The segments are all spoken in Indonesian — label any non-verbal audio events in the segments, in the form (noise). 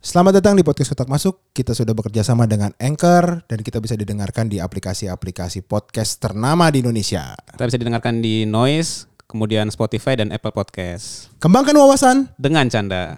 Selamat datang di podcast Kotak Masuk. Kita sudah bekerja sama dengan Anchor dan kita bisa didengarkan di aplikasi-aplikasi podcast ternama di Indonesia. Kita bisa didengarkan di Noise, kemudian Spotify dan Apple Podcast. Kembangkan wawasan. Dengan canda.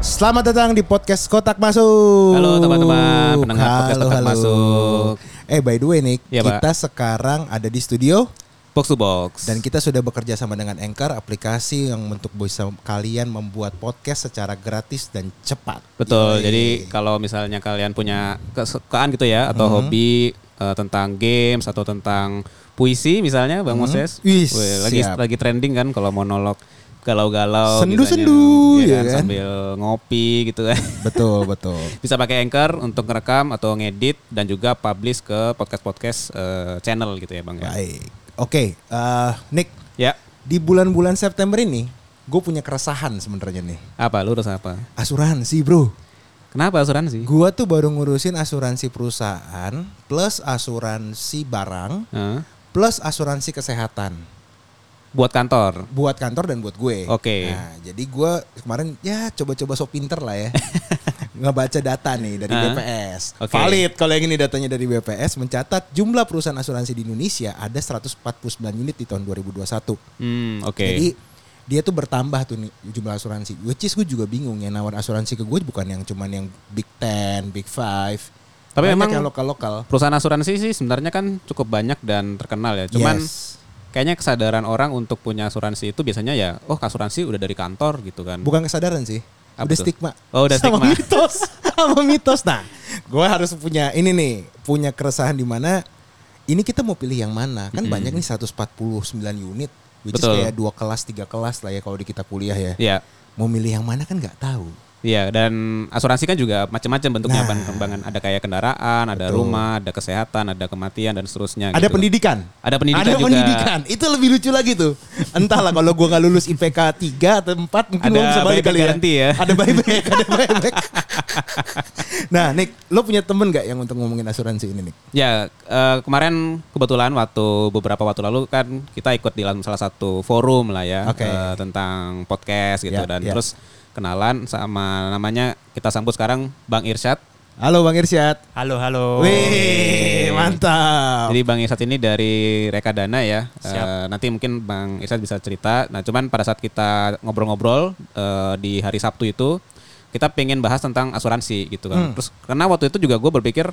Selamat datang di podcast Kotak Masuk. Halo, teman-teman, pendengar podcast Kotak Masuk. Eh by the way Nick, Iya, Pak. kita sekarang ada di studio Box to box. dan kita sudah bekerja sama dengan Anchor, aplikasi yang untuk bisa kalian membuat podcast secara gratis dan cepat. Betul. Yoi. Jadi kalau misalnya kalian punya kesukaan gitu ya atau Mm-hmm. hobi eh, tentang games atau tentang puisi misalnya Bang Moses. Mm-hmm. Wih, Weh, lagi siap. lagi trending kan kalau monolog galau-galau Sendu-sendu, gitanya. Iya ya kan, kan? sambil ngopi gitu kan. (laughs) betul betul. Bisa pakai Anchor untuk ngerekam atau ngedit dan juga publish ke podcast-podcast eh, channel gitu ya, Bang ya. Baik. Oke, eh, Nick, Ya. di bulan-bulan September ini gue punya keresahan sebenarnya nih. Apa lu rasa apa? Asuransi, Bro. Kenapa asuransi? Gua tuh baru ngurusin asuransi perusahaan plus asuransi barang Heeh. plus asuransi kesehatan buat kantor. buat kantor dan buat gue. Oke. Nah, jadi gua kemarin ya coba-coba sok pinter lah (laughs) ya. Ngebaca data nih dari Ah. BPS. Oke. Valid kalau yang ini datanya dari BPS mencatat jumlah perusahaan asuransi di Indonesia ada 149 unit di tahun 2021. Hmm, oke. Jadi dia tuh bertambah tuh nih jumlah asuransi. Which is gue juga bingung ya nawar asuransi ke gue bukan yang cuman yang Big Ten, Big Five. Tapi Banyak memang- yang lokal-lokal. Perusahaan asuransi sih sebenarnya kan cukup banyak dan terkenal ya. Cuman Yes. kayaknya kesadaran orang untuk punya asuransi itu biasanya ya, oh asuransi udah dari kantor gitu kan. bukan kesadaran sih. Apa udah tuh? stigma. Oh, (laughs) udah sama stigma. mitos, sama mitos. Nah, gue harus punya ini nih, punya keresahan di mana ini kita mau pilih yang mana? Kan banyak nih 149 unit, which Betul. is kayak dua kelas, tiga kelas lah ya kalau di kita kuliah ya. Iya. Mau milih yang mana kan nggak tahu. Iya, dan asuransi kan juga macam-macam Nah. bentuknya pengembangan ada kayak kendaraan, ada Betul. rumah, ada kesehatan, ada kematian dan seterusnya Ada gitu. pendidikan. Ada pendidikan Ada juga. pendidikan. Itu lebih lucu lagi tuh. Entahlah kalau gua nggak lulus IPK 3 atau 4 mungkin Ada gua bisa balik buyback kali ya. guarantee ya. Ada (laughs) buyback, ada buyback. nah, Nick, lo punya temen gak yang untuk ngomongin asuransi ini, Nick? Ya, eh, kemarin kebetulan waktu beberapa waktu lalu kan kita ikut di dalam salah satu forum lah ya Oke. eh, tentang podcast gitu Ya, dan ya. terus kenalan sama namanya kita sambut sekarang Bang Irsyad. Halo Bang Irsyad. Halo, halo. Wih, mantap. Jadi Bang Irsyad ini dari Rekadana ya. Siap. Eh, nanti mungkin Bang Irsyad bisa cerita. Nah, cuman pada saat kita ngobrol-ngobrol eh, di hari Sabtu itu kita pengen bahas tentang asuransi gitu kan. Terus karena waktu itu juga gue berpikir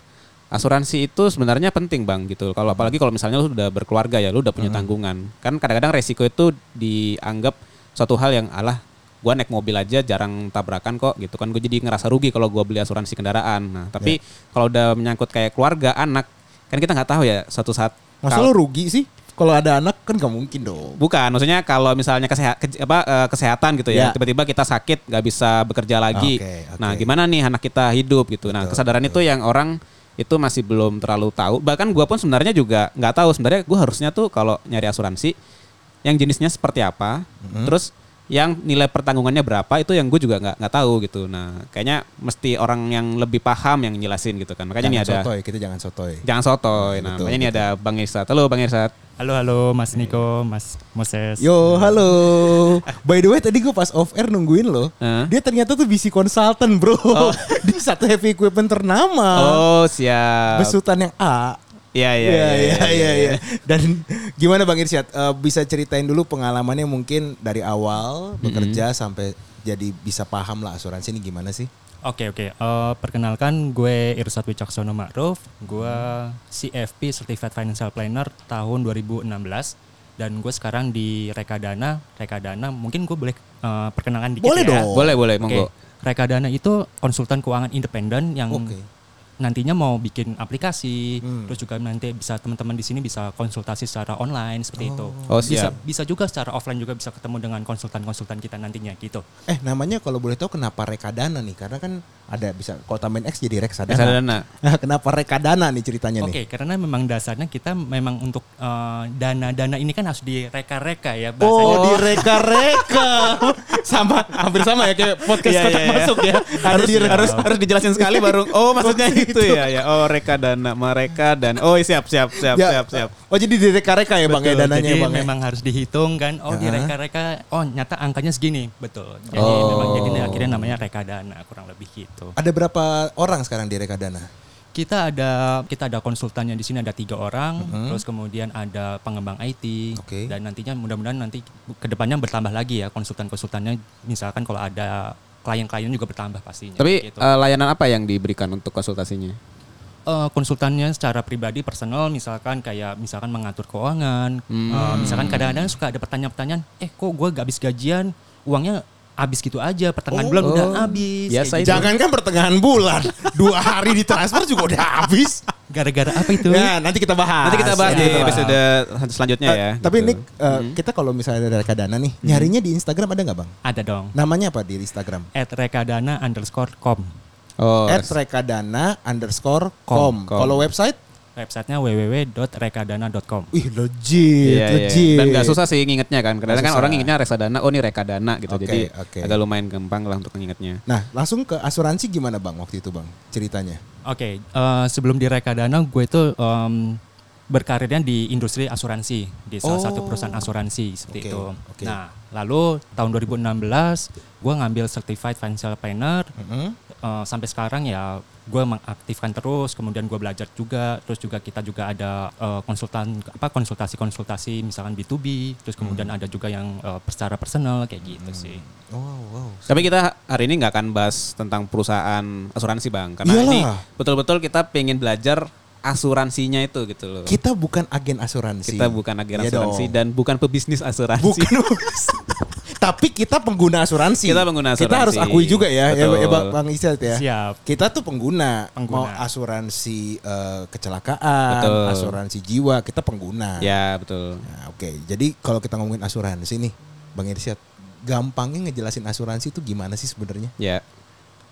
asuransi itu sebenarnya penting bang gitu. Kalau apalagi kalau misalnya lu udah berkeluarga ya, lu udah punya tanggungan. Kan kadang-kadang resiko itu dianggap suatu hal yang alah gua naik mobil aja jarang tabrakan kok gitu kan gue jadi ngerasa rugi kalau gua beli asuransi kendaraan nah tapi kalau udah menyangkut kayak keluarga anak kan kita nggak tahu ya suatu saat Masa lo kalau- rugi sih? Kalau ada anak kan gak mungkin dong. bukan maksudnya kalau misalnya keseha- ke- apa, eh, kesehatan gitu Ya. ya tiba-tiba kita sakit nggak bisa bekerja lagi Oke, oke. nah gimana nih anak kita hidup gitu nah kesadaran itu yang orang itu masih belum terlalu tahu bahkan gua pun sebenarnya juga nggak tahu sebenarnya gua harusnya tuh kalau nyari asuransi yang jenisnya seperti apa Mm-hmm. terus yang nilai pertanggungannya berapa itu yang gue juga nggak nggak tahu gitu nah kayaknya mesti orang yang lebih paham yang jelasin gitu kan makanya ini jangan ada sotoy, kita jangan sotoy. jangan sotoy nah Betul, makanya ini ada bang Irsat halo bang Irsat Halo, halo Mas Niko, Mas Moses. Yo, halo. By the way, tadi gue pas off air nungguin lo. Hah? Dia ternyata tuh BC consultant, bro. (laughs) Di satu heavy equipment ternama. oh siap Besutan yang A. Iya iya Iya, iya. iya, iya, iya. Dan gimana Bang Irsyad? Eh, bisa ceritain dulu pengalamannya mungkin dari awal bekerja sampai jadi bisa paham lah asuransi ini gimana sih? Oke, oke. Eh, perkenalkan gue Irsat Wicaksono Ma'ruf. Gue CFP Certified Financial Planner tahun 2016 dan gue sekarang di Rekadana. Rekadana mungkin gue boleh eh, perkenalkan dikit Boleh ya. dong. iya. Boleh boleh Oke. monggo. Rekadana itu konsultan keuangan independen yang Oke. Hmm. nantinya mau bikin aplikasi, terus juga nanti bisa teman-teman di sini bisa konsultasi secara online seperti itu. Ya. Iya. Oh, bisa siap. bisa juga secara offline juga bisa ketemu dengan konsultan-konsultan kita nantinya gitu. Eh namanya kalau boleh tahu kenapa Rekadana nih? Karena kan ada bisa kalau tambahin X jadi Reksadana. Reksadana. Nah, (laughs) kenapa Rekadana nih ceritanya Iya nih? Oke, karena memang dasarnya kita memang untuk eh, dana-dana ini kan harus direka-reka ya Oh, bahasanya. (laughs) direka-reka. sama hampir sama ya kayak podcast Iya, kotak iya, iya. masuk ya. Harus (laughs) Harus harus dijelasin sekali baru. Oh maksudnya itu. gitu ya ya. Oh rekadana mereka dan oh siap siap siap Ya. siap siap. Oh jadi direka-reka ya bang ya Betul, dananya jadi ya bang ya? memang harus dihitung kan. Oh, di reka-reka oh nyata angkanya segini. Betul. Jadi Oh. memang jadi ini akhirnya namanya rekadana kurang lebih gitu. Ada berapa orang sekarang di rekadana? Kita ada kita ada konsultannya di sini ada tiga orang, terus kemudian ada pengembang IT Oke. dan nantinya mudah-mudahan nanti kedepannya bertambah lagi ya konsultan-konsultannya. Misalkan kalau ada klien-klien juga bertambah pastinya. Tapi gitu. eh, layanan apa yang diberikan untuk konsultasinya? Eh, konsultannya secara pribadi personal misalkan kayak misalkan mengatur keuangan Eh, misalkan kadang-kadang suka ada pertanyaan-pertanyaan eh kok gue gak habis gajian uangnya habis gitu aja pertengahan bulan udah habis kayak Biasa gitu. itu. Jangankan pertengahan bulan, (laughs) dua hari di transfer juga udah habis. gitu. gara-gara apa itu Ya nanti kita bahas. Nanti kita bahas Nanti di kita bahas. episode selanjutnya Eh, ya. Tapi gitu. Nick, eh, kita kalau misalnya ada rekadana nih, Hmm. nyarinya di Instagram ada nggak bang? ada dong Namanya apa di Instagram? at rekadana underscore com oh, At rekadana underscore com. Com, com. Kalau website? websitenya www.rekadana.com Ih legit, Iya, iya. legit. Dan gak susah sih ngingetnya kan. Gitu, Karena Nggak kan susah. orang ngingetnya reksadana, oh ini rekadana gitu. Oke, Jadi oke. agak lumayan gampang lah untuk ngingetnya. Nah langsung ke asuransi gimana bang waktu itu bang ceritanya? Oke, eh, sebelum di Rekadana gue itu em, berkarirnya di industri asuransi di salah satu perusahaan asuransi seperti Oh. Oke, oke. itu. Nah, lalu tahun 2016 gue ngambil certified financial planner. Mm-hmm. Eh, sampai sekarang ya gue mengaktifkan terus, kemudian gue belajar juga, terus juga kita juga ada eh, konsultan apa konsultasi-konsultasi misalkan B2B, terus kemudian Hmm. ada juga yang eh, secara personal kayak gitu sih. Wow, wow. Tapi kita hari ini nggak akan bahas tentang perusahaan asuransi bang, karena Iyalah. ini betul-betul kita pengen belajar asuransinya itu gitu loh. Kita Kita, bukan agen asuransi. bukan agen Iya asuransi dong. dan bukan pebisnis (laughs) asuransi. bukan. Tapi kita pengguna asuransi. Kita pengguna Kita harus asuransi. akui juga ya, ya, Betul. ya, Bang- Bang Isyat ya. Siap. Kita tuh pengguna, Pengguna. mau asuransi eh, kecelakaan, Betul. asuransi jiwa, kita pengguna. (laughs) Ya betul. Nah, Oke, jadi kalau kita ngomongin asuransi nih, Bang Irsyad, gampangnya ngejelasin asuransi itu gimana sih sebenarnya? Ya.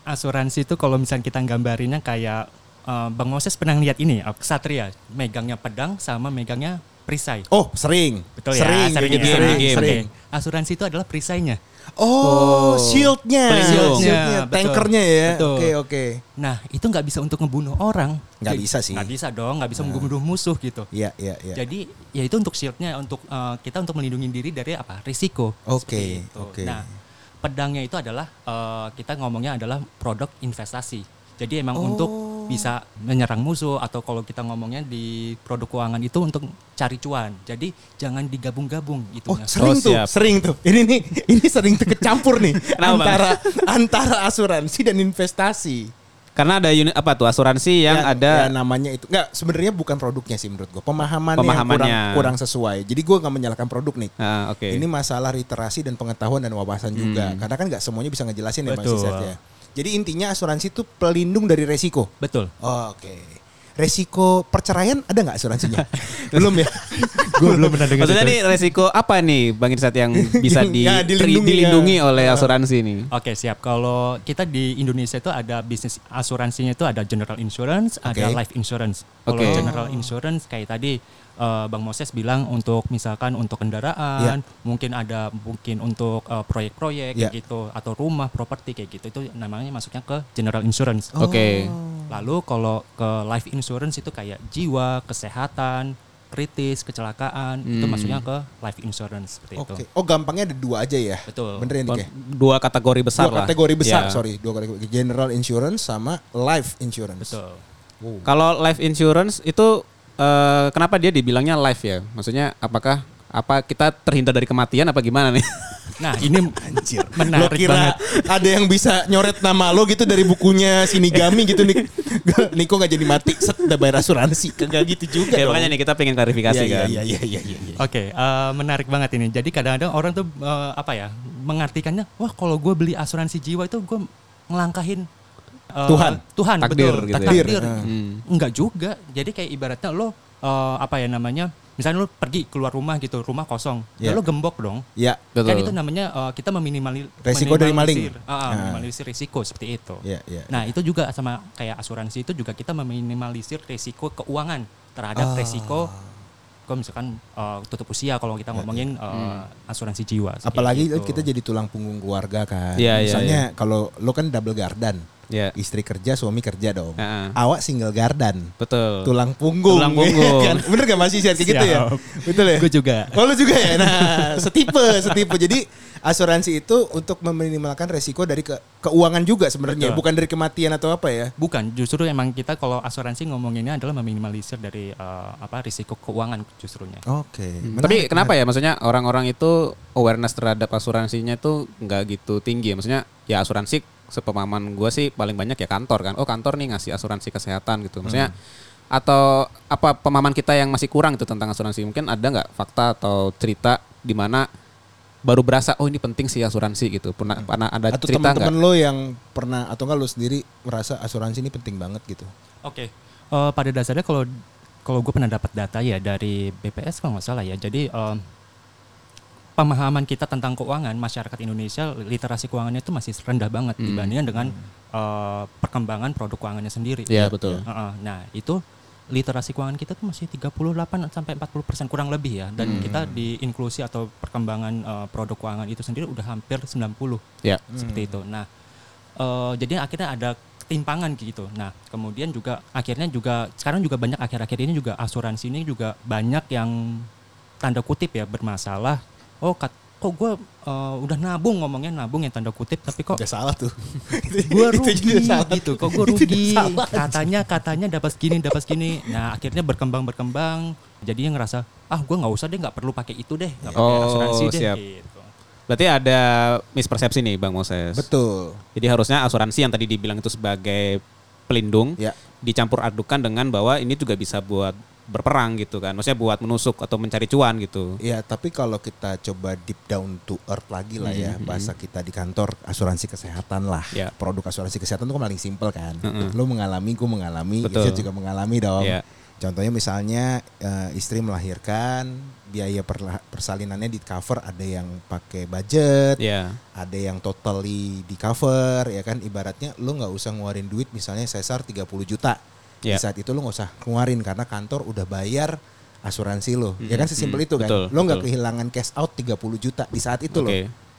asuransi itu kalau misalnya kita gambarinnya kayak eh, Bang Moses pernah lihat ini eh, Ksatria megangnya pedang sama megangnya perisai. Oh, sering. Betul ya, sering, sering di game, ya. sering, Di game. sering. Oke, Asuransi itu adalah perisainya. Oh, shieldnya, Pelindung. shieldnya, Betul. tankernya ya. Oke, Betul. oke. Nah, itu nggak bisa untuk ngebunuh orang. Nggak Jadi- bisa sih. Nah. Nggak bisa dong, nggak bisa membunuh musuh gitu. Iya, iya, iya. Jadi ya itu untuk shieldnya, untuk eh, kita untuk melindungi diri dari apa risiko. Oke, Seperti itu. oke. Nah, pedangnya itu adalah eh, kita ngomongnya adalah produk investasi. Jadi Oh. emang untuk bisa menyerang musuh atau kalau kita ngomongnya di produk keuangan itu untuk cari cuan. Jadi jangan digabung-gabung gitu. Oh sering Oh, tuh, siap. sering tuh. Ini nih, ini sering tuh kecampur (laughs) nih Bang? antara antara asuransi dan investasi. Karena ada unit apa tuh asuransi yang ada ya, namanya itu nggak sebenarnya bukan produknya sih menurut gue pemahamannya, yang Pemahamannya. kurang kurang sesuai. Jadi gue nggak menyalahkan produk nih. Ah, oke. nah. Hmm. Ini masalah literasi dan pengetahuan dan wawasan juga. Karena kan nggak semuanya bisa ngejelasin ya Bang Betul. Sisat ya. Jadi intinya asuransi itu pelindung dari resiko. Betul. Oke. Resiko perceraian ada nggak (laughs) asuransinya? belum ya. gue belum pernah Maksudnya nih resiko apa nih Bang Irsat (laughs) yang bisa di- Ya, dilindungi, dilindungi, oleh asuransi nih? Oke siap. Kalau kita di Indonesia itu ada bisnis asuransinya itu ada general insurance, ada Oke. life insurance. Kalau Oke. general insurance kayak tadi eh, Bang Moses bilang untuk misalkan untuk kendaraan, Iya. mungkin ada mungkin untuk eh, proyek-proyek kayak Ya. gitu atau rumah, properti kayak gitu itu namanya masuknya ke general insurance. Oh. Oke. Lalu kalau ke life insurance itu kayak jiwa, kesehatan, kritis, kecelakaan itu masuknya ke life insurance seperti itu. Hmm. Oke. Oh gampangnya ada dua aja ya. Betul. Bener ya Dik ya? Dua kategori besar dua lah. kategori besar, Ya. sorry, dua kategori general insurance sama life insurance. (laughs) Betul. Wow. Kalau life insurance itu eh, kenapa dia dibilangnya life ya? Maksudnya apakah apa kita terhindar dari kematian apa gimana nih? (laughs) Nah, ini Lo menarik kira banget. ada yang bisa nyoret nama lo gitu dari bukunya Sinigami gitu nih. (laughs) (laughs) Niko nggak jadi mati, set udah bayar asuransi. Kagak gitu (laughs) juga ya, dong. makanya nih kita pengen klarifikasi Iya, iya, kan. iya, iya, iya, iya, iya. Oke, eh, menarik banget ini. Jadi kadang-kadang orang tuh eh, apa ya mengartikannya, wah kalau gue beli asuransi jiwa itu gue ngelangkahin eh, Tuhan. Tuhan, Takdir betul, gitu ya. takdir. Takdir, eh. Enggak juga. Jadi kayak ibaratnya lo eh, apa ya namanya, misalnya lo pergi keluar rumah gitu, rumah kosong, Iya. ya lo gembok dong. Ya, Betul. Kan itu namanya eh, kita meminimali Resiko dari maling. meminimalisir- ah, ah, Nah. minimalisir risiko seperti itu. Iya, iya, nah itu juga Ah. sama kayak asuransi itu juga kita meminimalisir risiko keuangan terhadap resiko ke misalkan eh, tutup usia kalau kita ngomongin eh, asuransi jiwa. kayak Iya, Apalagi gitu. kita jadi tulang punggung keluarga kan. Iya, iya, Misalnya kalau lo kan double gardan. (laughs) Iya. Istri kerja, suami kerja dong. Heeh. Awak single gardan. Betul. Tulang punggung. Tulang (laughs) punggung. Kan? Bener gak masih share kayak gitu ya? Siap. Betul ya? Gue juga. Oh lu juga ya? Nah setipe, setipe. Jadi asuransi itu untuk meminimalkan resiko dari ke- keuangan juga sebenarnya. Betul. Bukan dari kematian atau apa ya. Bukan, justru emang kita kalau asuransi ngomonginnya adalah meminimalisir dari eh, apa risiko keuangan justrunya. Oke. Tapi kenapa ya maksudnya orang-orang itu awareness terhadap asuransinya itu nggak gitu tinggi ya maksudnya ya asuransi sepemahaman gue sih paling banyak ya kantor kan oh kantor nih ngasih asuransi kesehatan gitu maksudnya Hmm. atau apa pemahaman kita yang masih kurang itu tentang asuransi mungkin ada nggak fakta atau cerita di mana baru berasa oh ini penting sih asuransi gitu pernah pernah ada Hmm. atau cerita teman-teman nggak lo yang pernah atau enggak lo sendiri merasa asuransi ini penting banget gitu. Oke, eh, pada dasarnya kalau kalau gue pernah dapat data ya dari BPS kalau nggak salah ya, jadi eh, pemahaman kita tentang keuangan masyarakat Indonesia literasi keuangannya itu masih rendah banget Hmm. dibandingkan dengan eh, perkembangan produk keuangannya sendiri. Iya, betul. Heeh. Nah itu literasi keuangan kita tuh masih 38 sampai 40 persen kurang lebih ya, Hmm. dan kita di inklusi atau perkembangan eh, produk keuangan itu sendiri udah hampir 90 ya Hmm. seperti itu. Nah, eh, jadi akhirnya ada ketimpangan gitu. Nah, kemudian juga akhirnya juga sekarang juga banyak akhir-akhir ini juga asuransi ini juga banyak yang tanda kutip ya bermasalah. Oh, kat- kok gue udah nabung ngomongnya nabung yang tanda kutip, tapi Oh. kok Udah salah tuh. gue (laughs) Itu rugi juga salah. gitu kok gue Itu juga rugi salah. katanya katanya dapat segini dapat segini nah akhirnya berkembang berkembang jadinya ngerasa ah gue nggak usah deh nggak perlu pakai itu deh nggak pakai Oh, asuransi deh siap. gitu. berarti ada mispersepsi nih bang Moses Betul. Jadi harusnya asuransi yang tadi dibilang itu sebagai pelindung Ya. dicampur adukan dengan bahwa ini juga bisa buat berperang gitu kan. Maksudnya buat menusuk atau mencari cuan gitu. Ya, tapi kalau kita coba deep down to earth lagi lah ya, bahasa kita di kantor asuransi kesehatan lah. Mm-hmm. Ya. Produk asuransi kesehatan itu kan paling simpel kan. Mm-mm. Lo mengalami, gue mengalami, Betul. Izzat juga mengalami dong. Ya. Contohnya misalnya eh, istri melahirkan, biaya perla- persalinannya di cover ada yang pakai budget, Ya. ada yang totally di cover ya kan ibaratnya lu nggak usah ngeluarin duit misalnya sesar 30 juta di Ya. saat itu lu nggak usah ngeluarin karena kantor udah bayar asuransi lo ya kan sesimpel Mm-mm. itu kan Hmm, Betul, lo nggak betul. kehilangan cash out 30 juta di saat itu Oke. lo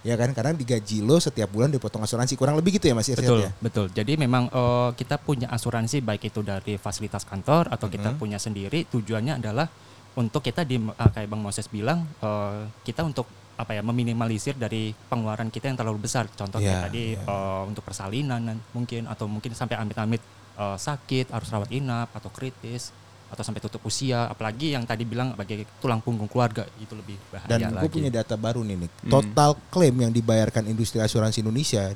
ya kan karena digaji lo setiap bulan dipotong asuransi kurang lebih gitu ya mas Irsat Betul, ya betul. Jadi memang eh, kita punya asuransi baik itu dari fasilitas kantor atau kita Mm-hmm. punya sendiri. Tujuannya adalah untuk kita di eh, kayak Bang Moses bilang eh, kita untuk apa ya meminimalisir dari pengeluaran kita yang terlalu besar. Contohnya Ya, tadi ya. eh, untuk persalinan nan- mungkin atau mungkin sampai amit-amit eh, sakit, harus rawat inap atau kritis atau sampai tutup usia. Apalagi yang tadi bilang bagi tulang punggung keluarga itu lebih bahaya dan gue Iya lagi. punya data baru nih Nick. Hmm. total klaim yang dibayarkan industri asuransi Indonesia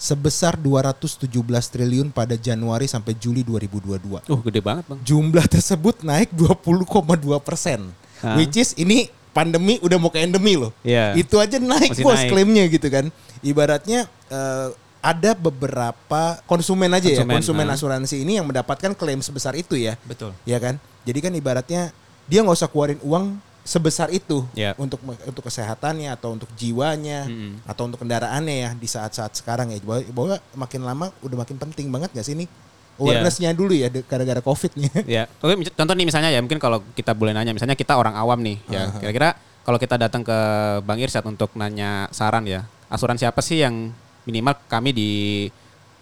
sebesar 217 triliun pada Januari sampai Juli 2022 Uh, gede banget, Bang. jumlah tersebut naik 20,2 persen. Hah? Which is ini pandemi udah mau ke endemi loh. Iya. Itu aja naik Masih bos naik. klaimnya gitu kan. Ibaratnya eh, ada beberapa konsumen aja ya, Konsumen, konsumen ah. asuransi ini yang mendapatkan klaim sebesar itu ya. Betul. Ya kan? Jadi kan ibaratnya dia nggak usah keluarin uang sebesar itu Iya. untuk untuk kesehatannya atau untuk jiwanya Mm-mm. atau untuk kendaraannya ya di saat-saat sekarang ya bahwa, bahwa makin lama udah makin penting banget gak sih ini awarenessnya dulu ya de- gara-gara covid nih ya. Oke, mis- contoh nih misalnya ya, mungkin kalau kita boleh nanya, misalnya kita orang awam nih ya. Kira-kira kalau kita datang ke Bang Irsyad untuk nanya saran ya, asuransi apa sih yang minimal kami di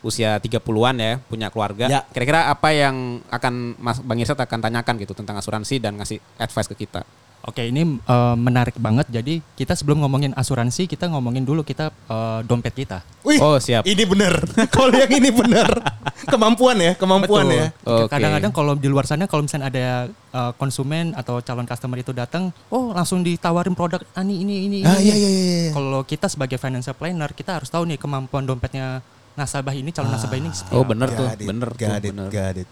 usia 30-an ya, punya keluarga. Ya. Kira-kira apa yang akan Mas Bang Irsyad akan tanyakan gitu tentang asuransi dan ngasih advice ke kita? Oke, ini eh, menarik banget. Jadi kita sebelum ngomongin asuransi, kita ngomongin dulu kita eh, dompet kita. (laughs) Wih, Oh, siap. Ini bener. (laughs) Kalau yang ini bener. Kemampuan ya, kemampuan ya. Oke. Kadang-kadang kalau di luar sana kalau misalnya ada eh, konsumen atau calon customer itu datang, oh langsung ditawarin produk ani ini ini. Ah, ini." iya, iya, iya, iya. Kalau kita sebagai financial planner, kita harus tahu nih kemampuan dompetnya nasabah ini, calon Ah. nasabah ini. seperti Oh apa. bener tuh, Got it, bener tuh, got it, bener. got it.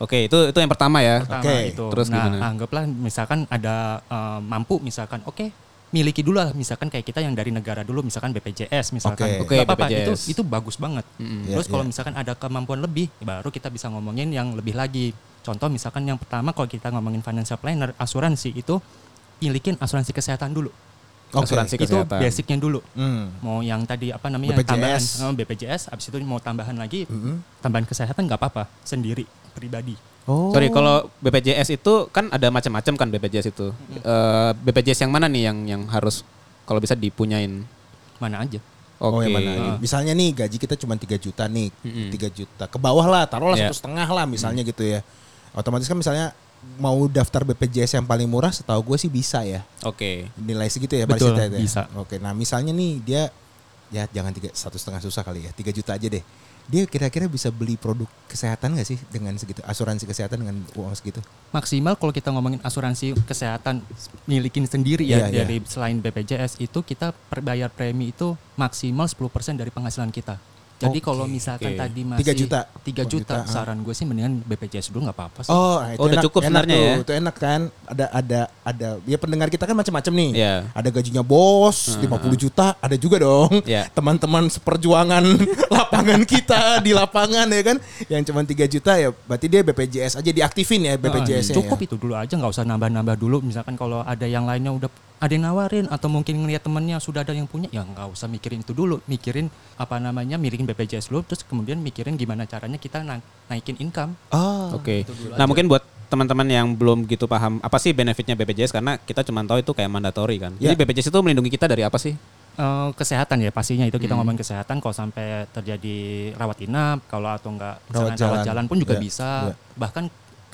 Oke itu itu yang pertama ya. pertama Oke, itu. terus nah, gimana? anggaplah misalkan ada eh, mampu misalkan oke miliki dulu lah misalkan kayak kita yang dari negara dulu misalkan BPJS misalkan Oke. Oke, Nggak apa-apa, itu BPJS. itu bagus banget. Iya, Terus kalau iya. misalkan ada kemampuan lebih ya baru kita bisa ngomongin yang lebih lagi. Contoh misalkan yang pertama kalau kita ngomongin financial planner asuransi itu milikin asuransi kesehatan dulu. Oke. Asuransi Itu kesehatan. basicnya dulu. Hmm. Mau yang tadi apa namanya BPJS. tambahan oh, Mm-hmm. eh, BPJS habis itu mau tambahan lagi tambahan kesehatan nggak apa-apa sendiri pribadi. Oh. Sorry, kalau BPJS itu kan ada macam-macam kan BPJS itu. Eh, BPJS yang mana nih yang yang harus kalau bisa dipunyain? Mana aja. Oke. Oh yang mana? Ah. Misalnya nih gaji kita cuma 3 juta nih, Mm-mm. 3 juta ke bawah lah, taruhlah Iya. satu setengah lah misalnya gitu ya. Otomatis kan misalnya mau daftar BPJS yang paling murah, setahu gue sih bisa ya Oke. nilai segitu ya Betul, Parisita itu ya? bisa. Oke, nah misalnya nih dia ya jangan tiga satu setengah susah kali ya, 3 juta aja deh. Dia kira-kira bisa beli produk kesehatan gak sih dengan segitu asuransi kesehatan dengan uang segitu? Maksimal kalau kita ngomongin asuransi kesehatan milikin sendiri Iya, ya iya. dari selain BPJS itu kita per- bayar premi itu maksimal 10% dari penghasilan kita. Jadi Oke. kalau misalkan Oke. tadi masih Tiga juta. 3 juta, Juta, ah. saran gue sih mendingan BPJS dulu nggak apa-apa sih. Oh, nah, itu Oh, udah enak, cukup enak sebenarnya tuh, ya. Itu enak kan? Ada ada ada ya pendengar kita kan macam-macam nih. Iya. Ada gajinya bos 50 juta, ada juga dong. Iya. Ya. Teman-teman seperjuangan (laughs) lapangan kita di lapangan ya kan yang cuma 3 juta ya berarti dia BPJS aja diaktifin ya BPJS-nya. cukup itu dulu aja nggak usah nambah-nambah dulu misalkan kalau ada yang lainnya udah ada yang nawarin atau mungkin ngelihat temennya sudah ada yang punya ya nggak usah mikirin itu dulu mikirin apa namanya mikirin BPJS dulu terus kemudian mikirin gimana caranya kita na- naikin income Ah. Oke. Nah, mungkin buat teman-teman yang belum gitu paham apa sih benefitnya BPJS karena kita cuma tahu itu kayak mandatory kan. Ya. Jadi BPJS itu melindungi kita dari apa sih? Eh, kesehatan ya pastinya itu Hmm. kita ngomongin kesehatan kalau sampai terjadi rawat inap kalau atau enggak Rawat rawat jalan, rawat jalan. jalan pun juga Iya, bisa iya. bahkan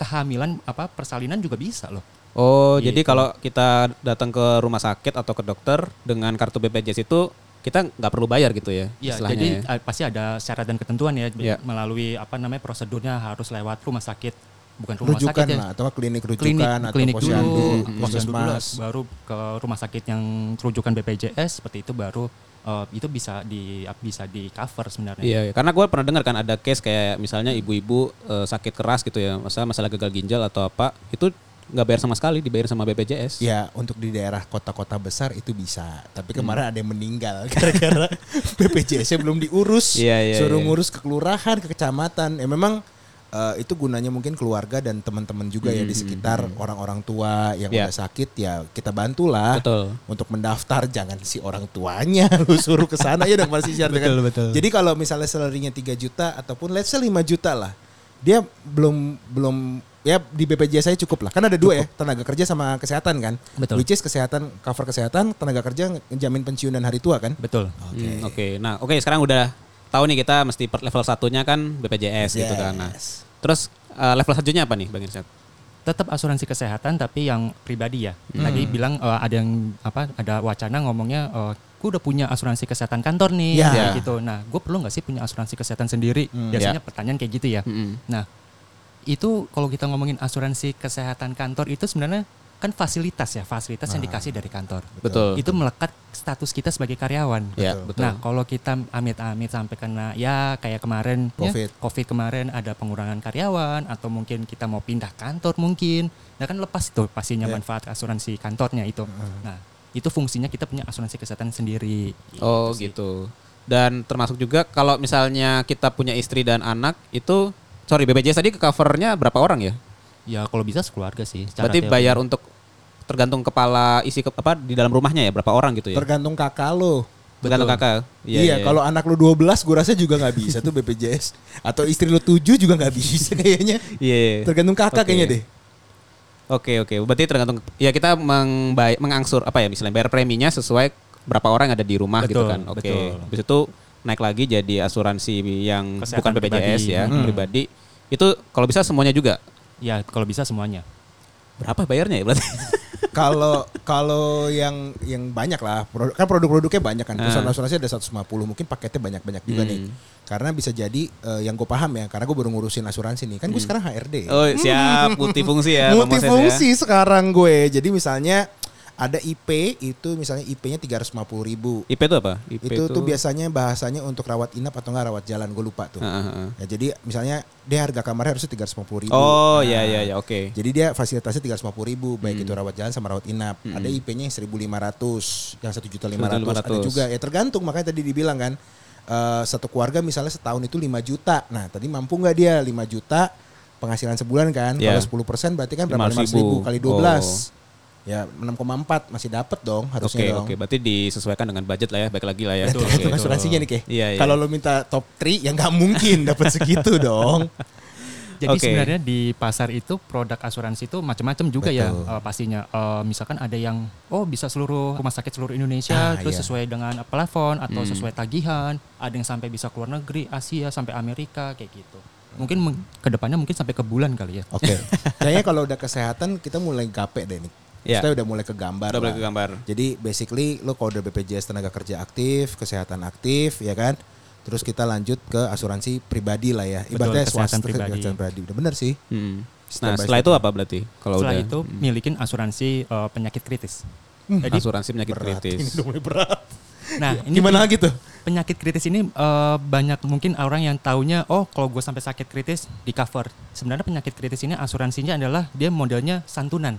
kehamilan apa persalinan juga bisa loh Oh, Gitu. jadi kalau kita datang ke rumah sakit atau ke dokter dengan kartu BPJS itu kita nggak perlu bayar gitu ya? Iya, istilahnya jadi ya? eh, pasti ada syarat dan ketentuan ya b- Iya. melalui apa namanya prosedurnya harus lewat rumah sakit, bukan rumah rujukan sakit ya. lah atau nggak klinik rujukan Klinik, atau klinik posyandu, dulu, posyandu dulu, puskesmas. baru ke rumah sakit yang rujukan BPJS seperti itu baru eh, itu bisa di bisa di cover sebenarnya. Iya, iya. karena gue pernah dengar kan ada case kayak misalnya ibu-ibu eh, sakit keras gitu ya, masalah masalah gagal ginjal atau apa, itu nggak bayar sama sekali, dibayar sama BPJS. Ya untuk di daerah kota-kota besar itu bisa. Tapi Hmm. kemarin ada yang meninggal (laughs) (laughs) gara-gara BPJS-nya belum diurus. Iya, iya, suruh iya. ngurus ke kelurahan, ke kecamatan. Ya memang eh, itu gunanya mungkin keluarga dan teman-teman juga Hmm, ya di sekitar orang-orang tua yang Iya. udah sakit ya kita bantulah. Betul. Untuk mendaftar jangan si orang tuanya (laughs) lu suruh ke sana ya dong masih share dengan. Jadi kalau misalnya salary-nya 3 juta ataupun let's say 5 juta lah. Dia belum belum ya di BPJS saya cukup lah. Kan ada dua ya, tenaga kerja sama kesehatan kan. Betul. Which is kesehatan cover kesehatan, tenaga kerja ngejamin pensiun dan hari tua kan? Betul. Oke. Hmm, Oke, nah oke sekarang udah tahu nih kita mesti per level satunya kan Oh, BPJS gitu kan. Nah, Yes. terus eh, level selanjutnya apa nih Bang Irsyad? Tetap asuransi kesehatan tapi yang pribadi ya. Hmm. Tadi bilang eh, ada yang apa ada wacana ngomongnya eh, gue udah punya asuransi kesehatan kantor nih Ya. Iya. kayak gitu. Nah, gue perlu nggak sih punya asuransi kesehatan sendiri? Hmm. Biasanya pertanyaan kayak gitu ya. Mm-mm. Nah, itu kalau kita ngomongin asuransi kesehatan kantor itu sebenarnya kan fasilitas ya, fasilitas yang dikasih dari kantor. Nah. Betul. Itu melekat status kita sebagai karyawan. Ya, betul. Nah, kalau kita amit-amit sampai kena ya kayak kemarin ya, Covid. COVID kemarin ada pengurangan karyawan atau mungkin kita mau pindah kantor mungkin. Nah, kan lepas itu Ya. pastinya manfaat asuransi kantornya itu. Nah, itu fungsinya kita punya asuransi kesehatan sendiri. Oh sih. gitu. Dan termasuk juga kalau misalnya kita punya istri dan anak itu, sorry BPJS tadi ke covernya berapa orang ya? Ya kalau bisa sekeluarga sih. secara Berarti teori. bayar untuk tergantung kepala isi ke- apa di dalam rumahnya ya berapa orang gitu ya? Tergantung kakak lo. Tergantung Betul. kakak. Iya, kalau anak lu 12 gua rasa juga nggak bisa tuh BPJS. Atau istri lu 7 juga nggak bisa kayaknya. Iya, iya. Tergantung kakak Oke. kayaknya deh. Oke oke, berarti tergantung ya kita mengbay- mengangsur apa ya misalnya bayar preminya sesuai berapa orang yang ada di rumah gitu Betul, kan. Oke. betul. Habis itu naik lagi jadi asuransi yang bukan Kesehatan BPJS pribadi. Hmm. ya, pribadi. Itu kalau bisa semuanya juga. Ya kalau bisa semuanya. Berapa bayarnya ya berarti? Kalau kalau yang yang banyak lah, produk, kan produk-produknya banyak kan. Perusahaan Ah. Hmm. asuransi ada 150, mungkin paketnya banyak-banyak juga nih. Karena bisa jadi eh, yang gue paham ya, karena gue baru ngurusin asuransi nih. Kan gue sekarang HRD. ya. Oh, siap multifungsi ya. Bang Moses ya. Multifungsi sekarang gue. Jadi misalnya ada IP itu misalnya IP-nya 350 ribu. IP itu apa? IP Itu tuh biasanya bahasanya untuk rawat inap atau enggak rawat jalan gue lupa tuh. Ah, ah, ah. Ya, jadi misalnya dia harga kamarnya harusnya 350 ribu. Oh, ya ya ya, oke. Jadi dia fasilitasnya 350 ribu, baik Hmm. itu rawat jalan sama rawat inap. Ada IP-nya yang 1.500, yang 1.500. Ada 1.500. juga, ya tergantung makanya tadi dibilang kan, eh, satu keluarga misalnya setahun itu 5 juta. Nah tadi mampu nggak dia 5 juta penghasilan sebulan kan? Iya. Kalau 10% berarti kan berapa? 500 500.000. ribu kali 12. Ya 6,4 masih dapat dong harusnya dong. (laughs) Oh. Oke, oke. Berarti disesuaikan dengan budget lah ya, baik lagi lah ya. Itu Oke. asuransinya nih Keh. Iya, iya. Kalau lo minta top 3 ya nggak mungkin dapat segitu dong. Jadi Oke. sebenarnya di pasar itu produk asuransi itu macam-macam juga ya eh, pastinya. Eh, misalkan ada yang oh bisa seluruh rumah sakit seluruh Indonesia Ah, terus iya. sesuai dengan eh, plafon atau sesuai tagihan. Ada yang sampai bisa keluar negeri, Asia sampai Amerika kayak gitu. Mungkin meng- kedepannya mungkin sampai ke bulan kali ya. Oke. (laughs) Kayaknya kalau udah kesehatan kita mulai gape deh nih. Iya. Kita udah mulai ke gambar. Udah mulai lah. ke gambar. Jadi basically lo kalau udah BPJS tenaga kerja aktif, kesehatan aktif, ya kan? Terus kita lanjut ke asuransi pribadi lah ya. Betul, Ibaratnya kesehatan swasta pribadi. kesehatan pribadi. Udah bener sih. Hmm. Step Nah by setelah step. itu apa berarti? Kalau Setelah udah itu milikin asuransi eh, penyakit kritis. Hmm. Jadi asuransi penyakit Ini Gitu, kritis. udah mulai berat. nah ini Iya, Gimana gitu? lagi tuh? penyakit kritis ini eh, banyak mungkin orang yang taunya oh kalau gue sampai sakit kritis di cover sebenarnya penyakit kritis ini asuransinya adalah dia modelnya santunan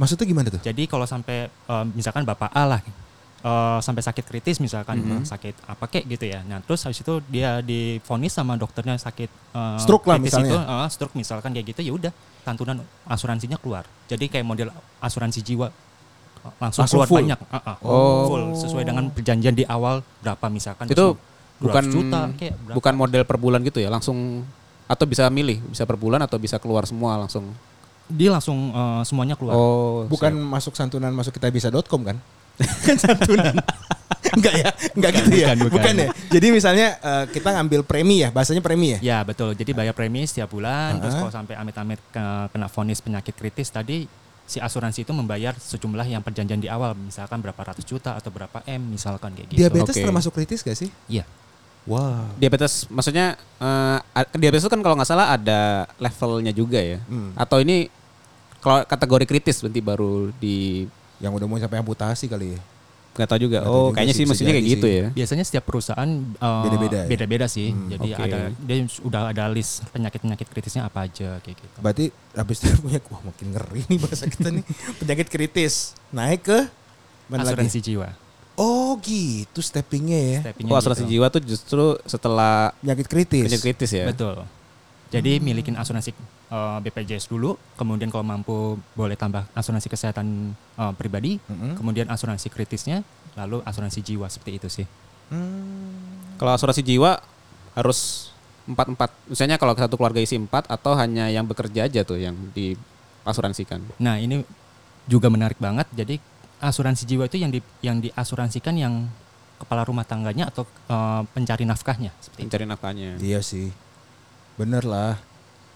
Maksudnya gimana tuh? jadi kalau sampai eh, misalkan bapak A lah eh, sampai sakit kritis misalkan eh, sakit apa kek gitu ya nah terus habis itu dia difonis sama dokternya sakit eh, Stroke lah kritis misalnya. itu, eh, stroke misalkan kayak gitu ya udah santunan asuransinya keluar jadi kayak model asuransi jiwa eh, langsung, Langsung keluar full? banyak eh, eh, Oh. full sesuai dengan perjanjian di awal berapa misalkan Itu bukan 200 juta kayak berapa. bukan model per bulan gitu ya langsung atau bisa milih bisa per bulan atau bisa keluar semua langsung. dia langsung eh, semuanya keluar Oh Bukan masuk santunan masuk kita bisa.com kan? kan santunan. (laughs) Enggak ya, enggak gitu ya. bukan, Bukan, bukan. ya. Jadi misalnya eh, kita ngambil premi ya, bahasanya premi ya. ya betul jadi bayar premi setiap bulan terus kalau sampai amit-amit ke- kena vonis penyakit kritis tadi si asuransi itu membayar sejumlah yang perjanjian di awal misalkan berapa ratus juta atau berapa m misalkan kayak gitu Diabetes Oke. termasuk kritis gak sih? iya Wah. diabetes maksudnya eh, a- diabetes itu kan kalau nggak salah ada levelnya juga ya. Hmm. Atau ini kalau kategori kritis berarti baru di Yang udah mau sampai amputasi kali ya. nggak tahu juga. Nggak tahu oh juga kayaknya sih, sih bisa mestinya kayak jadi gitu sih. ya. biasanya setiap perusahaan eh, Beda-beda ya? beda-beda sih jadi oke. ada dia udah ada list penyakit-penyakit kritisnya apa aja kayak gitu Berarti habis itu (laughs) punya wah makin ngeri nih bahasa kita nih. Penyakit kritis naik ke mana lagi? asuransi jiwa Oh gitu steppingnya ya. Steppingnya Oh asuransi gitu. jiwa tuh justru setelah Penyakit kritis. penyakit kritis ya. Betul. Jadi milikin asuransi eh, BPJS dulu, kemudian kalau mampu boleh tambah asuransi kesehatan eh, pribadi, Mm-mm. kemudian asuransi kritisnya, lalu asuransi jiwa seperti itu sih. Hmm. Kalau asuransi jiwa harus empat empat. Misalnya kalau satu keluarga isi empat atau hanya yang bekerja aja tuh yang diasuransikan. Nah ini juga menarik banget. Jadi asuransi jiwa itu yang di yang diasuransikan yang kepala rumah tangganya atau eh, pencari nafkahnya seperti itu. Mencari nafkahnya. Iya sih. Bener lah.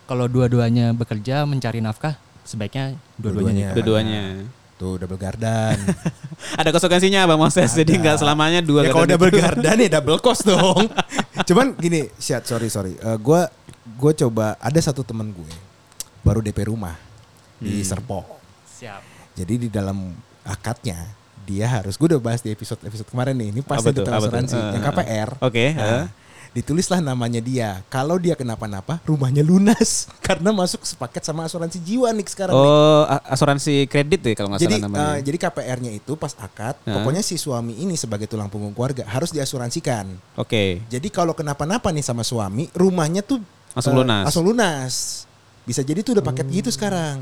Kalau dua-duanya bekerja mencari nafkah, sebaiknya Dua-duanya. dua-duanya. nikah. Dua-duanya. Tuh double gardan. (laughs) Ada konsekuensinya Bang Moses. Jadi nggak selamanya dua ya kalau double gardan ya double cost dong. Cuman gini, Syat, sorry sorry. Eh, gua gue coba ada satu teman gue baru DP rumah di Serpong. Siap. Jadi di dalam akadnya dia harus gue udah bahas di episode episode kemarin nih. Ini pas Apa tentang tuh? Apa tuh? asuransi Eh, yang eh, KPR. oke, Nah, eh. ditulislah namanya dia. Kalau dia kenapa-napa, rumahnya lunas (laughs) karena masuk sepaket sama asuransi jiwa nih sekarang. nih. (laughs) Oh, a- asuransi kredit ya kalau nggak Jadi salah namanya. Eh. eh, jadi KPR-nya itu pas akad, Hah? pokoknya si suami ini sebagai tulang punggung keluarga harus diasuransikan. Oke. Jadi kalau kenapa-napa nih sama suami, rumahnya tuh Langsung eh, lunas. Langsung lunas. Bisa jadi tuh udah paket gitu sekarang.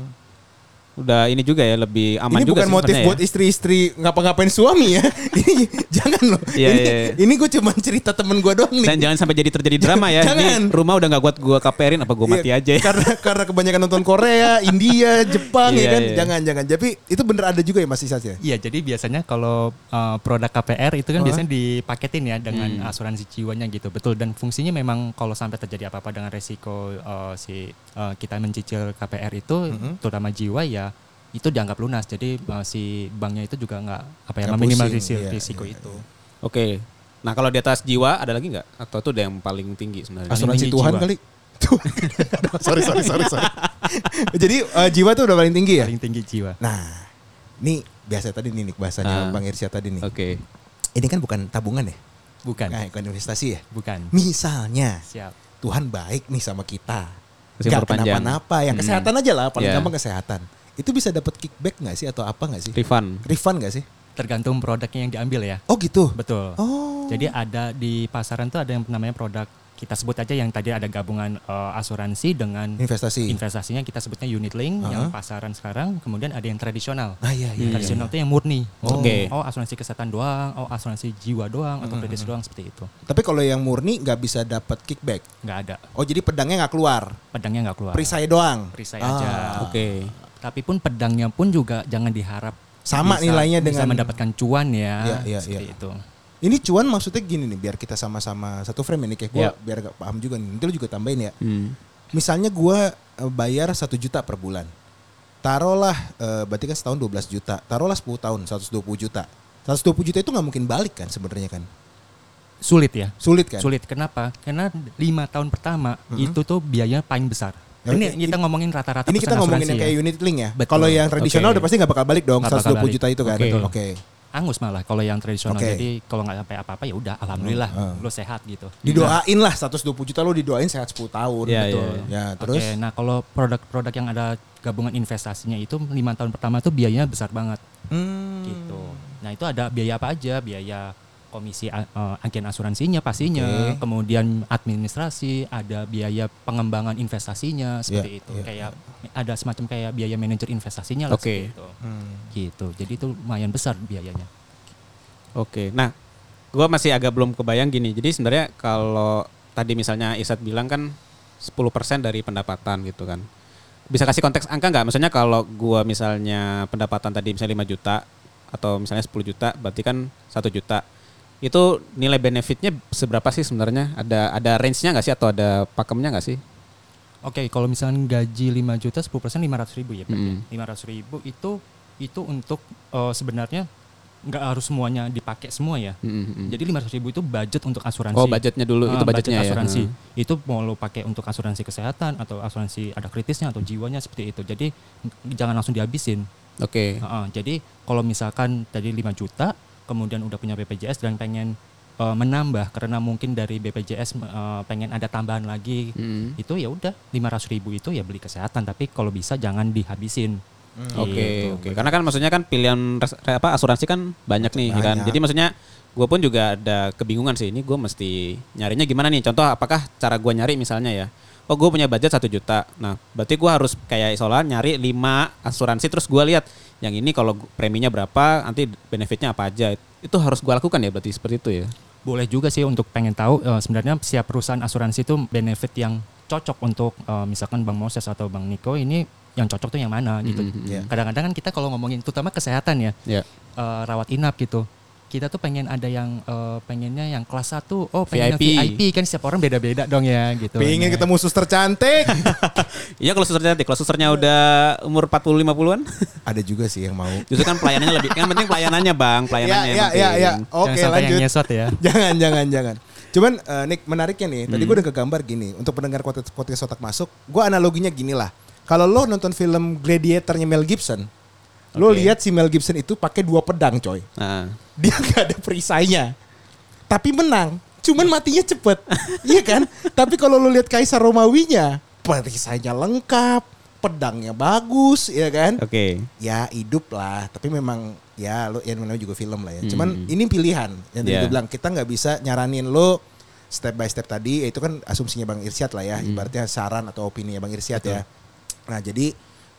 Udah ini juga ya lebih aman ini bukan juga sih motif sebenarnya buat ya. istri-istri ngapa-ngapain suami ya. (laughs) ini jangan loh. Iya, ini iya, iya. ini gue cuma cerita temen gue doang nih. Dan jangan sampai jadi terjadi drama ya. Jangan. Ini rumah udah nggak kuat gua kaperin apa Iya, gua mati aja ya. (laughs) Karena karena kebanyakan nonton Korea, India, Jepang Iya, ya kan. iya. Jangan jangan. Tapi itu bener ada juga ya Mas Isas ya. Iya, jadi biasanya kalau uh, produk KPR itu Hah? kan biasanya dipaketin ya dengan Hmm. asuransi jiwanya gitu, betul. Dan fungsinya memang kalau sampai terjadi apa-apa dengan resiko uh, si uh, kita mencicil KPR itu, Hmm. terutama jiwa ya itu dianggap lunas. Jadi uh, si banknya itu juga nggak apa ya Nggak pusing, meminimalisir iya, risiko iya, itu. Oke. Nah, kalau di atas jiwa ada lagi nggak? Atau itu udah yang paling tinggi sebenarnya? Paling Asuransi tinggi Tuhan jiwa. (laughs) kali. Tuh. sorry sorry sorry sorry. (laughs) Jadi eh, jiwa tuh udah paling tinggi ya. Paling tinggi jiwa. Nah, ini biasa tadi nih Nick, bahasanya Ah. Bang Irsyad tadi nih. Oke. Ini kan bukan tabungan ya? Bukan. Nah, bukan investasi ya? Bukan. Misalnya Siap. Tuhan baik nih sama kita. Masih Gak perpanjang. kenapa-napa. Hmm. Yang kesehatan aja lah, paling Iya. gampang kesehatan. Itu bisa dapat kickback nggak sih atau apa nggak sih? Rifan. Refund nggak sih? Tergantung produknya yang diambil ya. Oh gitu. Betul. Oh. Jadi ada di pasaran tuh ada yang namanya produk kita sebut aja yang tadi ada gabungan eh, asuransi dengan Investasi. investasinya kita sebutnya unit link yang Aha. pasaran sekarang kemudian ada yang tradisional Ah, iya, iya, Yang iya, tradisional itu yang murni oh, Oke. oh asuransi kesehatan doang oh asuransi jiwa doang atau kredit doang seperti itu Tapi kalau yang murni nggak bisa dapat kickback. nggak ada Oh jadi pedangnya nggak keluar, pedangnya nggak keluar perisai doang. perisai Ah, aja Oke. tapi pun pedangnya pun juga jangan diharap Sama bisa- nilainya bisa dengan- mendapatkan cuan ya, Iya, iya, seperti iya. itu Ini cuan maksudnya gini nih, biar kita sama-sama satu frame ini kayak gue Iya. biar gak paham juga nih. Nanti lu juga tambahin ya. Hmm. Misalnya gua eh, bayar satu juta per bulan. Taruhlah eh, berarti kan setahun 12 juta. Taruhlah 10 tahun 120 juta. 120 juta itu nggak mungkin balik kan sebenarnya kan. sulit ya Sulit kan? Sulit. Kenapa? Karena lima tahun pertama itu tuh biayanya paling besar. Ya, Ini oke. kita ngomongin rata-rata Ini pesan kita ngomongin asuransi yang ya. kayak unit link ya. Betul. Kalau yang tradisional Oke. udah pasti nggak bakal balik dong Nggak 120 bakal balik. juta itu kan. Oke. Oke. angus malah kalau yang tradisional. Oke. Jadi kalau nggak sampai apa-apa ya udah alhamdulillah Hmm. lo sehat gitu. Didoain lah 120 juta lo didoain sehat 10 tahun. Iya, Betul. iya, Ya, Oke, terus nah kalau produk-produk yang ada gabungan investasinya itu lima tahun pertama tuh biayanya besar banget Hmm. gitu. Nah itu ada biaya apa aja? Biaya komisi a- eh, agen asuransinya pastinya, Oke. kemudian administrasi, ada biaya pengembangan investasinya seperti Iya, itu. iya, kayak ada semacam kayak biaya manajer investasinya lah Oke. seperti itu. Hmm. Gitu. Jadi itu lumayan besar biayanya. Oke, nah gua masih agak belum kebayang gini. Jadi sebenarnya kalau tadi misalnya Isat bilang kan 10% dari pendapatan gitu kan. Bisa kasih konteks angka nggak? Maksudnya kalau gua misalnya pendapatan tadi misalnya 5 juta atau misalnya 10 juta berarti kan 1 juta. Itu nilai benefitnya seberapa sih sebenarnya? Ada ada range-nya nggak sih atau ada pakemnya nggak sih? Oke, kalau misalnya gaji 5 juta 10% 500 ribu ya. Pak, Hmm. Mm. ya. 500 ribu itu itu untuk eh, sebenarnya nggak harus semuanya dipakai semua ya. Mm-mm. Jadi 500 ribu itu budget untuk asuransi. Hmm. Oh, budgetnya dulu. Ah, itu budgetnya ya. budget asuransi. Hmm. Itu mau lo pakai untuk asuransi kesehatan atau asuransi ada kritisnya atau jiwanya seperti itu. Jadi n- jangan langsung dihabisin. Oke. Heeh, jadi kalau misalkan tadi 5 juta, kemudian udah punya BPJS dan pengen eh, menambah karena mungkin dari BPJS eh, pengen ada tambahan lagi, Mm. itu ya udah 500 ribu itu ya beli kesehatan. Tapi kalau bisa jangan dihabisin. Hmm. Oke, Gitu. oke. Karena kan maksudnya kan pilihan res- apa asuransi kan banyak nih ya kan. Banyak. Jadi maksudnya gue pun juga ada kebingungan sih ini gue mesti nyarinya gimana nih. Contoh apakah cara gue nyari misalnya ya. Oh gue punya budget satu juta. Nah berarti gue harus kayak isola nyari 5 asuransi terus gue lihat yang ini kalau gu- preminya berapa, nanti benefitnya apa aja. Itu harus gue lakukan ya berarti seperti itu ya. Boleh juga sih untuk pengen tahu eh, sebenarnya siap perusahaan asuransi itu benefit yang cocok untuk eh, misalkan Bang Moses atau Bang Niko ini yang cocok tuh yang mana gitu. Mhm. Iya. Kadang-kadang kan kita kalau ngomongin terutama kesehatan ya, Ya. eh, rawat inap gitu. Kita tuh pengen ada yang eh, pengennya yang kelas 1, oh pengennya VIP. VIP. kan setiap orang beda-beda dong ya gitu. Pengen Nah, ketemu suster (laughs) cantik. Iya kalau susternya nanti kalau susternya udah umur 40 50-an Ada juga sih yang mau. justru kan pelayanannya lebih yang penting pelayanannya Ya, Bang, pelayanannya. ya, yang ya, penting. ya. jangan Oke, sampai yang lanjut. nyesot ya. (laughs) jangan jangan jangan cuman eh, Nick menariknya nih tadi gue udah kegambar gini untuk pendengar podcast podcast otak masuk gue analoginya gini lah kalau lo nonton film Gladiatornya Mel Gibson lo Oke. lihat si Mel Gibson itu pakai dua pedang coy (laughs) Nah. dia nggak ada perisainya tapi menang cuman matinya cepet iya kan tapi kalau lo lihat Kaisar Romawinya perisainya lengkap pedangnya bagus ya kan Oke. ya hidup lah tapi memang ya lo ya namanya juga film lah ya cuman ini pilihan yang tadi Hmm. gue Yeah. bilang kita nggak bisa nyaranin lo step by step tadi ya itu kan asumsinya bang Irsyad lah Hmm. ya ibaratnya saran atau opini ya bang Irsyad ya nah jadi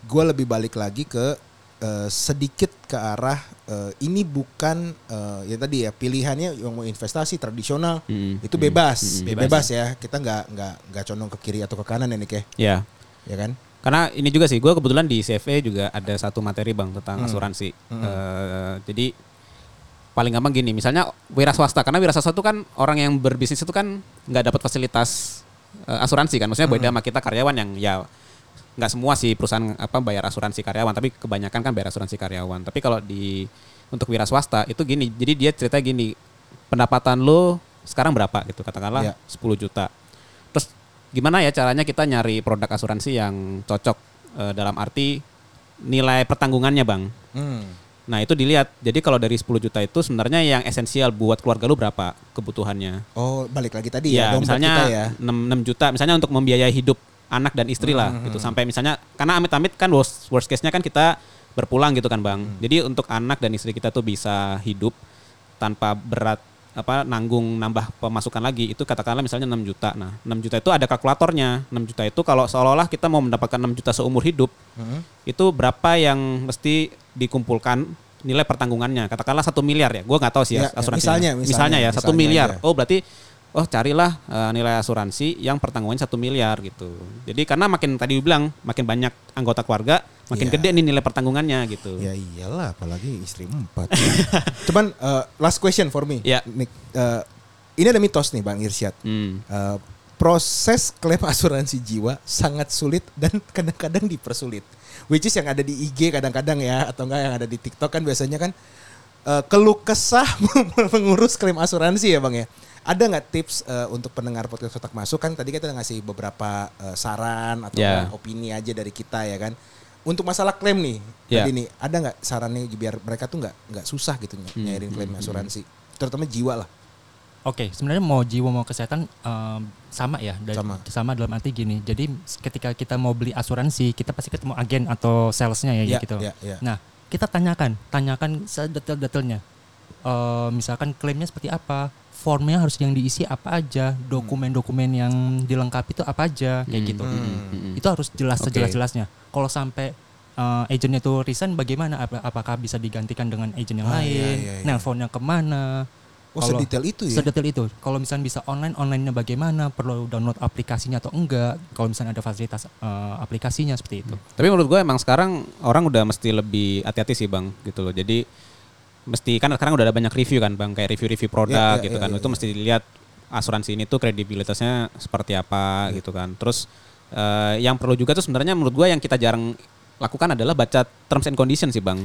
gue lebih balik lagi ke eh, sedikit ke arah eh, ini bukan eh, ya tadi ya pilihannya yang mau investasi tradisional Mm. itu Mm. bebas. Mm. bebas ya kita nggak nggak nggak condong ke kiri atau ke kanan ya Nick ya Ya. ya kan Karena ini juga sih, gue kebetulan di CFA juga ada satu materi bang tentang Hmm. asuransi. Eh, jadi paling gampang gini, misalnya wira swasta, karena wira swasta itu kan orang yang berbisnis itu kan nggak dapat fasilitas eh, asuransi kan, maksudnya beda sama kita karyawan yang ya nggak semua sih perusahaan apa bayar asuransi karyawan, tapi kebanyakan kan bayar asuransi karyawan. Tapi kalau di untuk wira swasta itu gini, jadi dia cerita gini, pendapatan lo sekarang berapa gitu, Iya. katakanlah 10 juta. Terus gimana ya caranya kita nyari produk asuransi yang cocok eh, dalam arti nilai pertanggungannya, Bang. Nah, itu dilihat. Jadi kalau dari 10 juta itu sebenarnya yang esensial buat keluarga lu berapa kebutuhannya? oh balik lagi tadi ya, Iya, dompet misalnya kita ya 6, 6 juta misalnya untuk membiayai hidup anak dan istri lah Mm-hmm. gitu sampai misalnya karena amit-amit kan worst, worst case-nya kan kita Mm. berpulang gitu kan Bang. Jadi untuk anak dan istri kita tuh bisa hidup tanpa berat apa nanggung nambah pemasukan lagi itu katakanlah misalnya 6 juta. Nah, 6 juta itu ada kalkulatornya. 6 juta itu kalau seolah-olah kita mau mendapatkan 6 juta seumur hidup, Mm-hmm. itu berapa yang mesti dikumpulkan nilai pertanggungannya katakanlah satu miliar ya gue nggak tahu sih Ya, ya, ya, asuransinya misalnya, misalnya, ya satu misalnya miliar aja. oh berarti oh carilah eh, nilai asuransi yang pertanggungannya satu miliar gitu jadi karena makin tadi lu bilang makin banyak anggota keluarga makin Iya. gede nih nilai pertanggungannya gitu Ya iyalah, apalagi istri empat. (laughs) Cuman eh, last question for me, Ya. Nick. Eh, ini ada mitos nih Bang Irsyad. Hmm. Eh, proses klaim asuransi jiwa sangat sulit dan (laughs) kadang-kadang dipersulit. Which is yang ada di IG kadang-kadang ya atau enggak yang ada di TikTok kan biasanya kan eh, keluh kesah (laughs) mengurus klaim asuransi ya Bang ya. Ada nggak tips eh, untuk pendengar podcast Kotak Masuk kan tadi kita ngasih beberapa eh, saran atau Ya. enggak opini aja dari kita ya kan. Untuk masalah klaim nih, Ya. tadi nih ada nggak sarannya biar mereka tuh nggak nggak susah gitu ny- nyairin klaim asuransi, terutama jiwa lah. Oke, sebenarnya mau jiwa mau kesehatan em, sama ya, dari- Sama. dalam arti gini. Jadi ketika kita mau beli asuransi, kita pasti ketemu agen atau salesnya Iya, ya, gitu. iya, iya. Nah, kita tanyakan, tanyakan sedetail-detailnya. Eh, misalkan klaimnya seperti apa, formnya harus yang diisi Hmm. apa aja, dokumen-dokumen yang dilengkapi itu apa aja, kayak Hmm. gitu. Hmm. Itu harus jelas Oke. sejelas-jelasnya. Kalau sampai eh, agennya itu resign, bagaimana? Apa- Apakah bisa digantikan dengan agen yang Ah, lain? iya, iya, iya. Nelfonnya kemana? Oh Kalau- sedetail itu ya? Sedetail itu. Kalau misalnya bisa online, onlinenya bagaimana? Perlu download aplikasinya atau enggak? Kalau misalnya ada fasilitas eh, aplikasinya seperti itu. Tapi menurut gue emang sekarang orang udah mesti lebih hati-hati sih bang gitu loh. Jadi mesti kan sekarang udah ada banyak review kan bang kayak review-review Ya, produk ya, gitu ya, kan. ya, Itu mesti dilihat asuransi ini tuh kredibilitasnya seperti apa gitu kan. Terus eh, yang perlu juga tuh sebenarnya menurut gue yang kita jarang lakukan adalah baca terms and condition sih bang.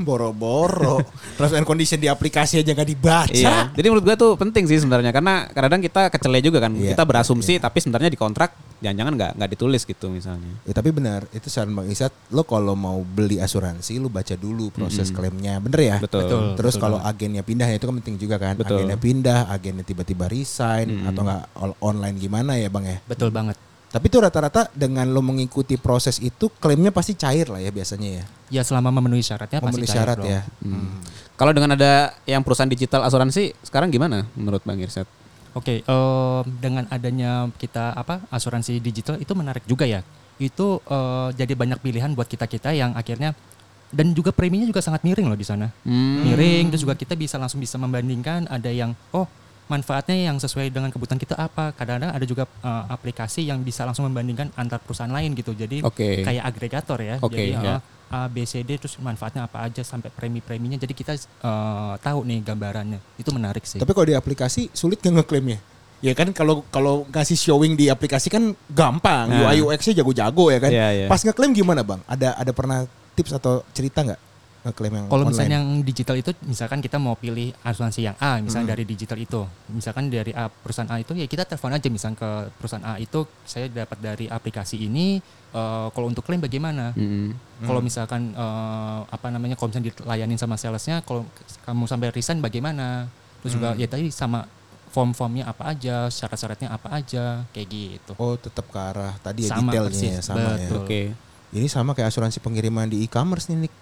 Boro-boro. Terms and condition di aplikasi aja nggak dibaca. Iya. Jadi menurut gue tuh penting sih sebenarnya karena kadang-kadang kita kecele juga kan. Iya, kita berasumsi tapi sebenarnya di kontrak jangan-jangan nggak nggak ditulis gitu misalnya. Ya, tapi benar, itu saran Bang Isat, lo kalau mau beli asuransi lo baca dulu proses klaimnya, bener ya? Betul. Betul. Terus kalau agennya pindah ya itu kan penting juga kan. Betul. Agennya pindah, agennya tiba-tiba resign atau nggak all- online gimana ya Bang ya? Betul banget. Tapi itu rata-rata dengan lo mengikuti proses itu klaimnya pasti cair lah ya biasanya ya. Ya selama memenuhi syaratnya Memenuhi pasti gitu cair, syarat bro. Mm. ya. Kalau dengan ada yang perusahaan digital asuransi sekarang gimana menurut Bang Irsyad? Oke, em, dengan adanya kita apa asuransi digital itu menarik juga ya. Itu eh, jadi banyak pilihan buat kita-kita yang akhirnya dan juga preminya juga sangat miring loh di sana. Hmm, Miring terus juga kita bisa langsung bisa membandingkan ada yang oh manfaatnya yang sesuai dengan kebutuhan kita apa. Kadang-kadang ada juga eh, aplikasi yang bisa langsung membandingkan antar perusahaan lain gitu. Jadi Oke. kayak agregator ya. Oke, Jadi ya. eh, A, B, C, D terus manfaatnya apa aja sampai premi-preminya. Jadi kita eh, tahu nih gambarannya. Itu menarik sih. Iya. Tapi kalau di aplikasi sulit nggak ngeklaimnya? Ya kan kalau kalau ngasih showing di aplikasi kan gampang, Nah. UI UX-nya jago-jago ya kan. Iya, iya. Pas ngeklaim gimana bang? Ada ada pernah tips atau cerita nggak ngeklaim yang Kalau online? misalnya yang digital itu, misalkan kita mau pilih asuransi yang A, misalnya dari digital itu, misalkan dari A, perusahaan A itu, ya kita telepon aja misalnya ke perusahaan A itu, saya dapat dari aplikasi ini, eh, kalau untuk klaim bagaimana? Kalau misalkan eh, apa namanya, kalau misalnya dilayanin sama salesnya, kalau kamu sampai resign bagaimana? Terus juga ya tadi sama form-formnya apa aja, syarat-syaratnya apa aja, kayak gitu. Oh tetap ke arah tadi ya Sama detailnya ya persis, sama Oke. ya. Ini sama kayak asuransi pengiriman di e-commerce nih. Nick.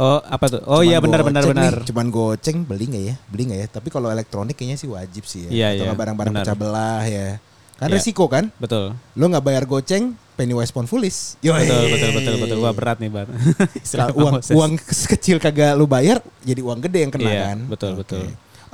Oh, apa tuh? Oh Cuman iya benar benar goceng benar. nih, Cuman goceng beli nggak ya? Beli nggak ya? Tapi kalau elektronik kayaknya sih wajib sih ya. Iya, atau iya, nggak barang-barang benar. pecah belah ya. Kan Iya. resiko kan? Betul. Lo nggak bayar goceng, Pennywise pound foolish. Yoi. Betul betul betul betul. Wah, berat nih, Bang. (laughs) Setelah uang uang (laughs) kes- kecil kagak lu bayar jadi uang gede yang kena Iya, kan. betul, Oke. betul.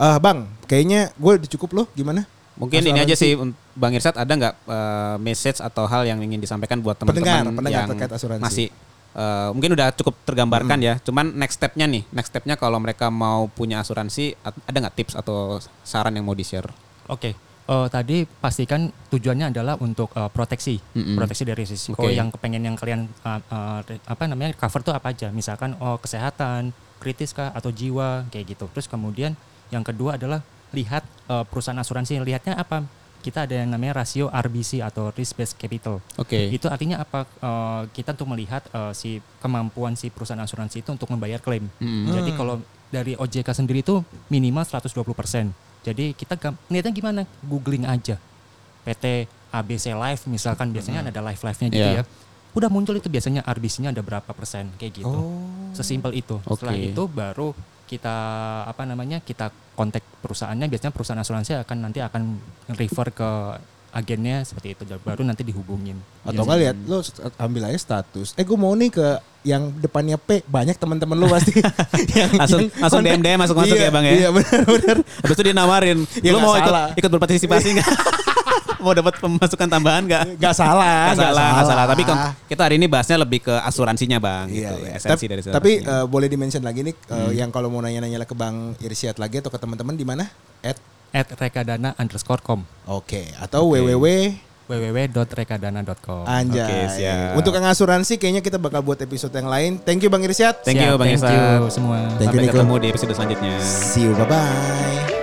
Eh, bang, kayaknya gue udah cukup loh. Gimana? Mungkin ini aja sih un- Bang Irsyad ada nggak eh, message atau hal yang ingin disampaikan buat Pendengar, teman-teman pendengar yang terkait asuransi. masih eh, mungkin udah cukup tergambarkan ya. Cuman next stepnya nih, next stepnya kalau mereka mau punya asuransi at- ada nggak tips atau saran yang mau di-share? Oke, eh, tadi pastikan tujuannya adalah untuk eh, proteksi, Mm-mm. proteksi dari risiko Oke. yang kepengen yang kalian eh, eh, re- apa namanya cover tuh apa aja, misalkan oh kesehatan, kritis kah atau jiwa kayak gitu. Terus kemudian yang kedua adalah lihat eh, perusahaan asuransi lihatnya apa? Kita ada yang namanya rasio RBC atau risk based capital. Oke. Itu artinya apa? eh, kita untuk melihat eh, si kemampuan si perusahaan asuransi itu untuk membayar (laughs) klaim. Mm-mm. Hmm. Jadi kalau dari OJK sendiri itu minimal 120%. Jadi kita gam- niatnya gimana? Googling aja. PT ABC Live misalkan Hmm. biasanya ada live-live-nya gitu Iya. ya. Udah muncul itu biasanya RBC-nya ada berapa persen kayak gitu. Oh. Sesimpel itu. Setelah Oke. itu baru kita apa namanya kita kontak perusahaannya biasanya perusahaan asuransi akan nanti akan refer ke agennya seperti itu baru nanti dihubungin Atau enggak lihat lo st- ambil aja status. Eh gue mau nih ke yang depannya P banyak teman-teman lo (laughs) pasti. yang, (laughs) Langsung- langsung kontak. DM-DM masuk-masuk Iya, ya, Bang, ya? Iya benar-benar. Habis itu dia nawarin, (laughs) Ya, "Lu nggak mau ikut salah." ikut berpartisipasi (laughs) enggak? (laughs) mau dapat pemasukan tambahan enggak? Gak salah, (laughs) Nggak salah, nggak salah. Tapi kon- kita hari ini bahasnya lebih ke asuransinya bang, (laughs) Iya, gitu, iya. esensi Tap- dari Hmm. asuransinya. Tapi eh, boleh di-mention lagi nih eh, yang kalau mau nanya-nanya ke Bang Irsyad lagi atau ke teman-teman di mana? At at rekadana underscore com Oke, atau www www.rekadana.com anjay. Oke, siap. Untuk yang asuransi kayaknya kita bakal buat episode yang lain. Thank you Bang Irsyad. thank you Siap, bang thank Irsa. you semua Thank you, Sampai Nico. ketemu di episode selanjutnya. See you, bye-bye.